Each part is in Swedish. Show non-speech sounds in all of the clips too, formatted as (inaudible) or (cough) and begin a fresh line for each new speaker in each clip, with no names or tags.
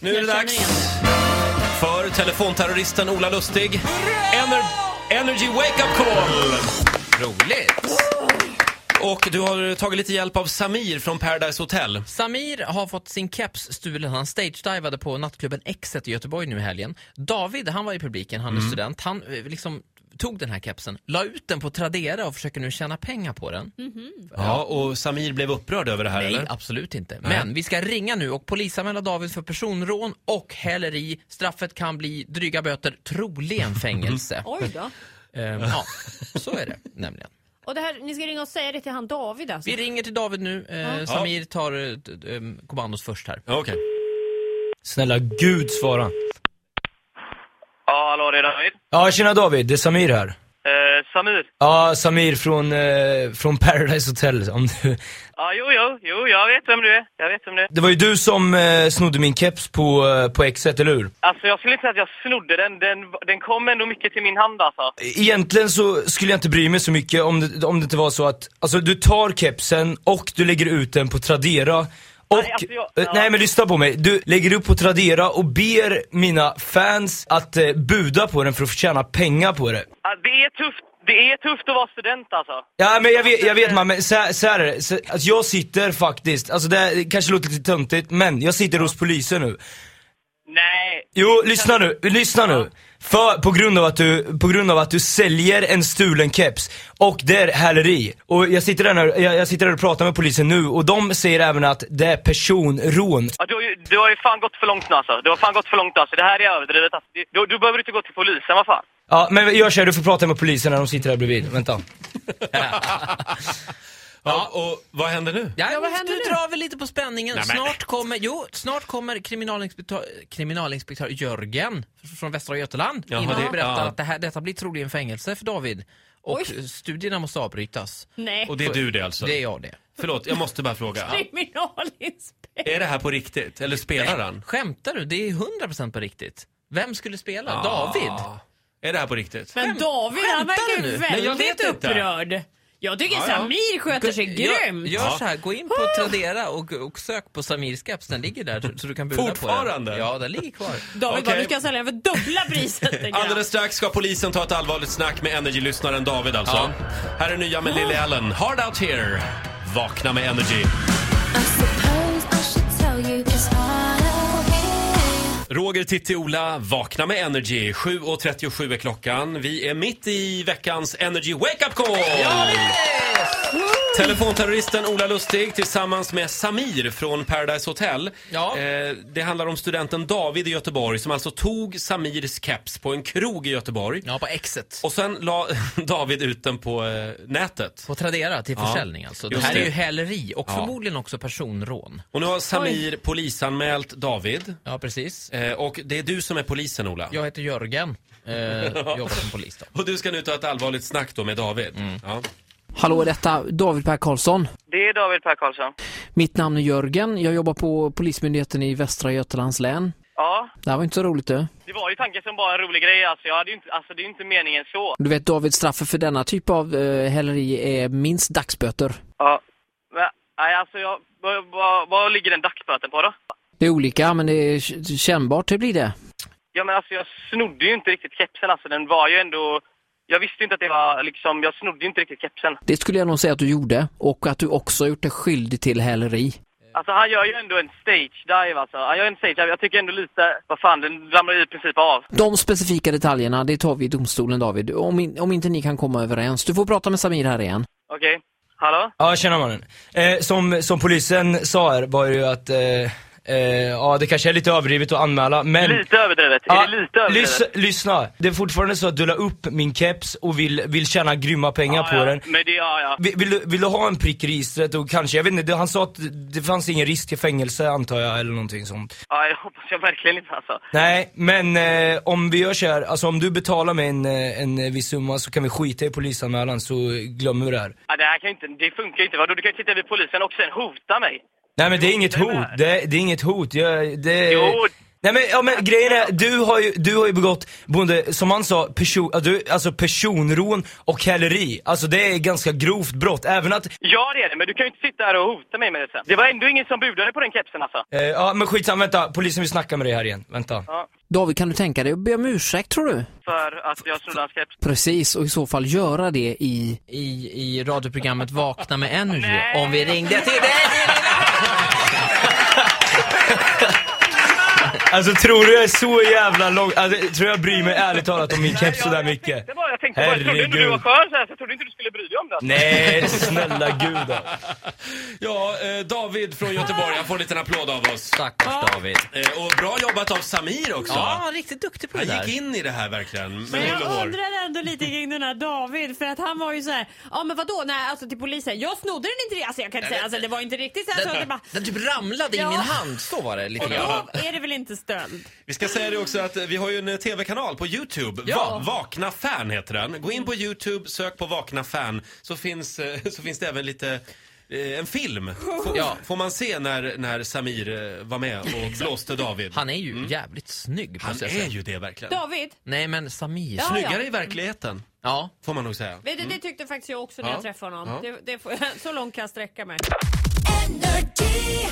Nu är det
Jag
dags
känner
för telefonterroristen Ola Lustig. Ener Energy Wake Up Call!
Roligt!
Och du har tagit lite hjälp av Samir från Paradise Hotel.
Samir har fått sin keps stulen. Han stage-divade på nattklubben Exet i Göteborg nu i helgen. David, han var i publiken, han är student. Han eh, liksom tog den här kepsen, la ut den på Tradera och försöker nu tjäna pengar på den.
Ja, och Samir blev upprörd över det här,
Nej,
eller?
absolut inte. Men vi ska ringa nu och polisanmäla David för personrån och häleri. Straffet kan bli dryga böter, troligen fängelse.
Oj då.
Eh, ja, så är det nämligen.
Och det här, ni ska ringa och säga det till han David alltså.
Vi ringer till David nu. Eh, Samir tar eh, d- d- em, kommandot först här.
Ja, Okej.
Snälla gud, svara.
Ja, hallå, det är David.
Ja, tjena David, det är Samir här.
Eh, Samir.
Ja, Samir från, eh, från Paradise Hotel. Om du...
Ja, jo, jo, jo, jag vet vem du är. Jag vet vem du är.
Det var ju du som eh, snodde min keps på, eh, på exet, eller hur?
Alltså, jag skulle inte säga att jag snodde den. Den, den kom ändå mycket till min hand, alltså.
Egentligen så skulle jag inte bry mig så mycket om det, om det inte var så att, alltså du tar kepsen och du lägger ut den på Tradera. Och,
Nej, alltså, jag-
eh,
ja.
nej men lyssna på mig, du lägger upp på Tradera och ber mina fans att eh, buda på den för att tjäna pengar på det.
Ja, det är tufft. Det är tufft att vara student, alltså.
Ja men jag vet, jag vet man, men så här, så här är det. Så, alltså, jag sitter faktiskt, alltså det, här, det kanske låter lite töntigt, men jag sitter hos polisen nu.
Nej.
Jo, lyssna nu, lyssna nu. För, på, grund av att du, på grund av att du säljer en stulen keps och det är häleri. Och jag sitter, där nu, jag, jag sitter där och pratar med polisen nu och de säger även att det är personrån.
Ja, du, har ju, du har ju fan gått för långt nu, alltså. Du har fan gått för långt, alltså. Det här är överdrivet. Alltså. Det- Du, du behöver inte gå till polisen, vad fan.
Ja men gör så här, du får prata med polisen när de sitter där bredvid. Vänta.
Ja, och vad händer nu?
Ja,
Ja, vad
men
händer
du
nu?
drar väl lite på spänningen. Snart kommer, jo, snart kommer kriminalinspektör, kriminalinspektör Jörgen från Västra Götaland
Jaha,
in och
det-
berättar
ja.
att det här, detta blir troligen fängelse för David. Och
Oj.
studierna måste avbrytas.
Nej. (laughs)
Och det är du det alltså?
Det är jag det.
Förlåt, jag måste bara fråga.
Kriminalinspektör.
Är det här på riktigt? Eller spelar han?
Skämtar du? Det är 100% på riktigt. Vem skulle spela?
Ja.
David?
Är det här på riktigt?
Men David han
skämtar
verkar
du
ju
nu? Nej,
jag
väldigt
vet inte.
upprörd. Jag tycker
Ja, ja.
Samir sköter sig grymt.
Gör,
Ja.
gör så här, gå in på Tradera och, och sök på Samir Skaps. Den ligger där så, så du kan buda på
Fortfarande?
den. Ja, den ligger kvar.
David bara,
Okej.
nu ska jag sälja den för dubbla priset. tänker
(laughs)
jag.
Alldeles strax ska polisen ta ett allvarligt snack med Energy-lyssnaren David alltså. Här är nya med Lily Allen. Hard Out Here. Vakna med Energy.
I suppose I should tell you it's hard out here.
Roger, Titti, Ola, vakna med Energy. 7.37 är klockan. Vi är mitt i veckans Energy Wake Up Call! Telefonterroristen Ola Lustig tillsammans med Samir från Paradise Hotel.
Ja.
Eh, det handlar om studenten David i Göteborg som alltså tog Samirs keps på en krog i Göteborg.
Ja, på exet.
Och sen la (laughs) David ut den på eh, nätet.
På Tradera till
Ja,
försäljning alltså. Det
just
här
det.
är ju häleri och
Ja.
förmodligen också personrån.
Och nu har Samir polisanmält David.
Ja, precis.
Eh, och det är du som är polisen Ola.
Jag heter Jörgen, eh,
(laughs)
jobbar som polis då.
Och du ska nu ta ett allvarligt snack då med David. Ja.
Hallå, är detta David Per Karlsson.
Det är David Per Karlsson.
Mitt namn är Jörgen. Jag jobbar på Polismyndigheten i Västra Götalands län.
Ja,
Det här var inte så roligt du.
det var ju tanken som bara en rolig grej, alltså. Jag hade ju inte, alltså det är ju inte meningen så.
Du vet David, straffet för denna typ av eh, häleri är minst dagsböter.
Ja. Men, nej, alltså, jag... Vad, vad, vad ligger den dagsböten på, då?
Det är olika, men det är k- kännbart, det blir det.
Ja, men alltså jag snodde ju inte riktigt kepsen. Alltså, den var ju ändå... Jag visste ju inte att det var liksom... Jag snodde ju inte riktigt kepsen.
Det skulle jag nog säga att du gjorde och att du också har gjort dig skyldig till häleri.
Alltså han gör ju ändå en stage dive alltså. Han gör en stage dive. Jag tycker ändå lite... Vad fan, den ramlar ju i princip av.
De specifika detaljerna, det tar vi i domstolen David. Om, in, om inte ni kan komma överens. Du får prata med Samir här igen.
Okej? Hallå?
Ja, tjena mannen. Eh, som, som polisen sa här var ju att, eh, eh, ja det kanske är lite överdrivet att anmäla men
Lite överdrivet.
Ja,
är det lite överdrivet?
lys- lyssna, det är fortfarande så att du la upp min keps och vill, vill tjäna grymma pengar
ja,
på
ja.
den.
Men det, ja, ja.
Vill, vill, du, vill du ha en prick i registret och kanske, jag vet inte, det- han sa att det fanns ingen risk till fängelse antar jag eller någonting sånt.
ja, jag hoppas jag verkligen inte alltså.
Nej, men eh, om vi gör så här, alltså om du betalar mig en, eh, en viss summa så kan vi skita i polisanmälan så glömmer vi det här.
Ja, det här kan ju inte... Det funkar ju inte. Vadå? Du kan ju sitta vid polisen och sen hota mig.
Nej men det är inget
Jo, det är
hot,
det.
det, det är inget hot, jag, det...
Jo,
Nej men, ja, men grejen är, du har ju, du har ju begått, både, som han sa, person, ja, du, alltså personrån och häleri. Alltså det är ganska grovt brott, även att,
Ja, det är det, men du kan ju inte sitta här och hota mig med det sen. Det var ändå ingen som budade på den kepsen alltså.
eh, ja men skitsamma, vänta, polisen vill snacka med dig här igen, vänta.
David, kan du tänka dig att be om ursäkt tror du?
För att jag snodde hans keps.
Precis, och i så fall göra det i...
I, i radioprogrammet Vakna med Energy
Nej.
om vi ringde till dig.
Alltså tror du jag är så jävla lång, alltså, tror jag bryr mig ärligt talat om min keps sådär mycket?
Det var, jag tänkte bara, jag trodde inte du var skön så här, så jag trodde inte du skulle bry dig om det. alltså.
Nej, snälla gud alltså.
Ja, eh, David från Göteborg, han får en liten applåd av oss.
Stackars David.
Eh, och bra jobbat av Samir också.
Ja, riktigt duktig på det
Han
där.
gick in i det här verkligen, med
Men
hull och
jag
hår.
undrar ändå lite kring den här David för att han var ju så här, ja men vadå, nej alltså till polisen, jag snodde den inte, det." alltså jag kan inte säga, alltså det var inte riktigt så här, så det bara,
Den typ ramlade
Ja.
i min hand, så var det lite grann.
då är det väl inte stöld?
Vi ska säga det också att eh, vi har ju en eh, tv-kanal på Youtube. Va-
Ja.
Vakna fan heter den. Gå in på Youtube, sök på Vakna fan så finns, eh, så finns det även lite eh, en film F-
Ja.
får man se när, när Samir eh, var med och blåste David.
Han är ju jävligt snygg
Mm. Han
måste jag
är
säga.
ju det verkligen.
David,
Nej men Samir.
Ja.
Snyggare i verkligheten,
Ja.
får man nog säga.
vet du, det tyckte faktiskt jag också när
Mm. Ja.
jag träffade honom.
Ja.
Det, det, får- så långt kan jag sträcka mig.
Energy.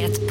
Ett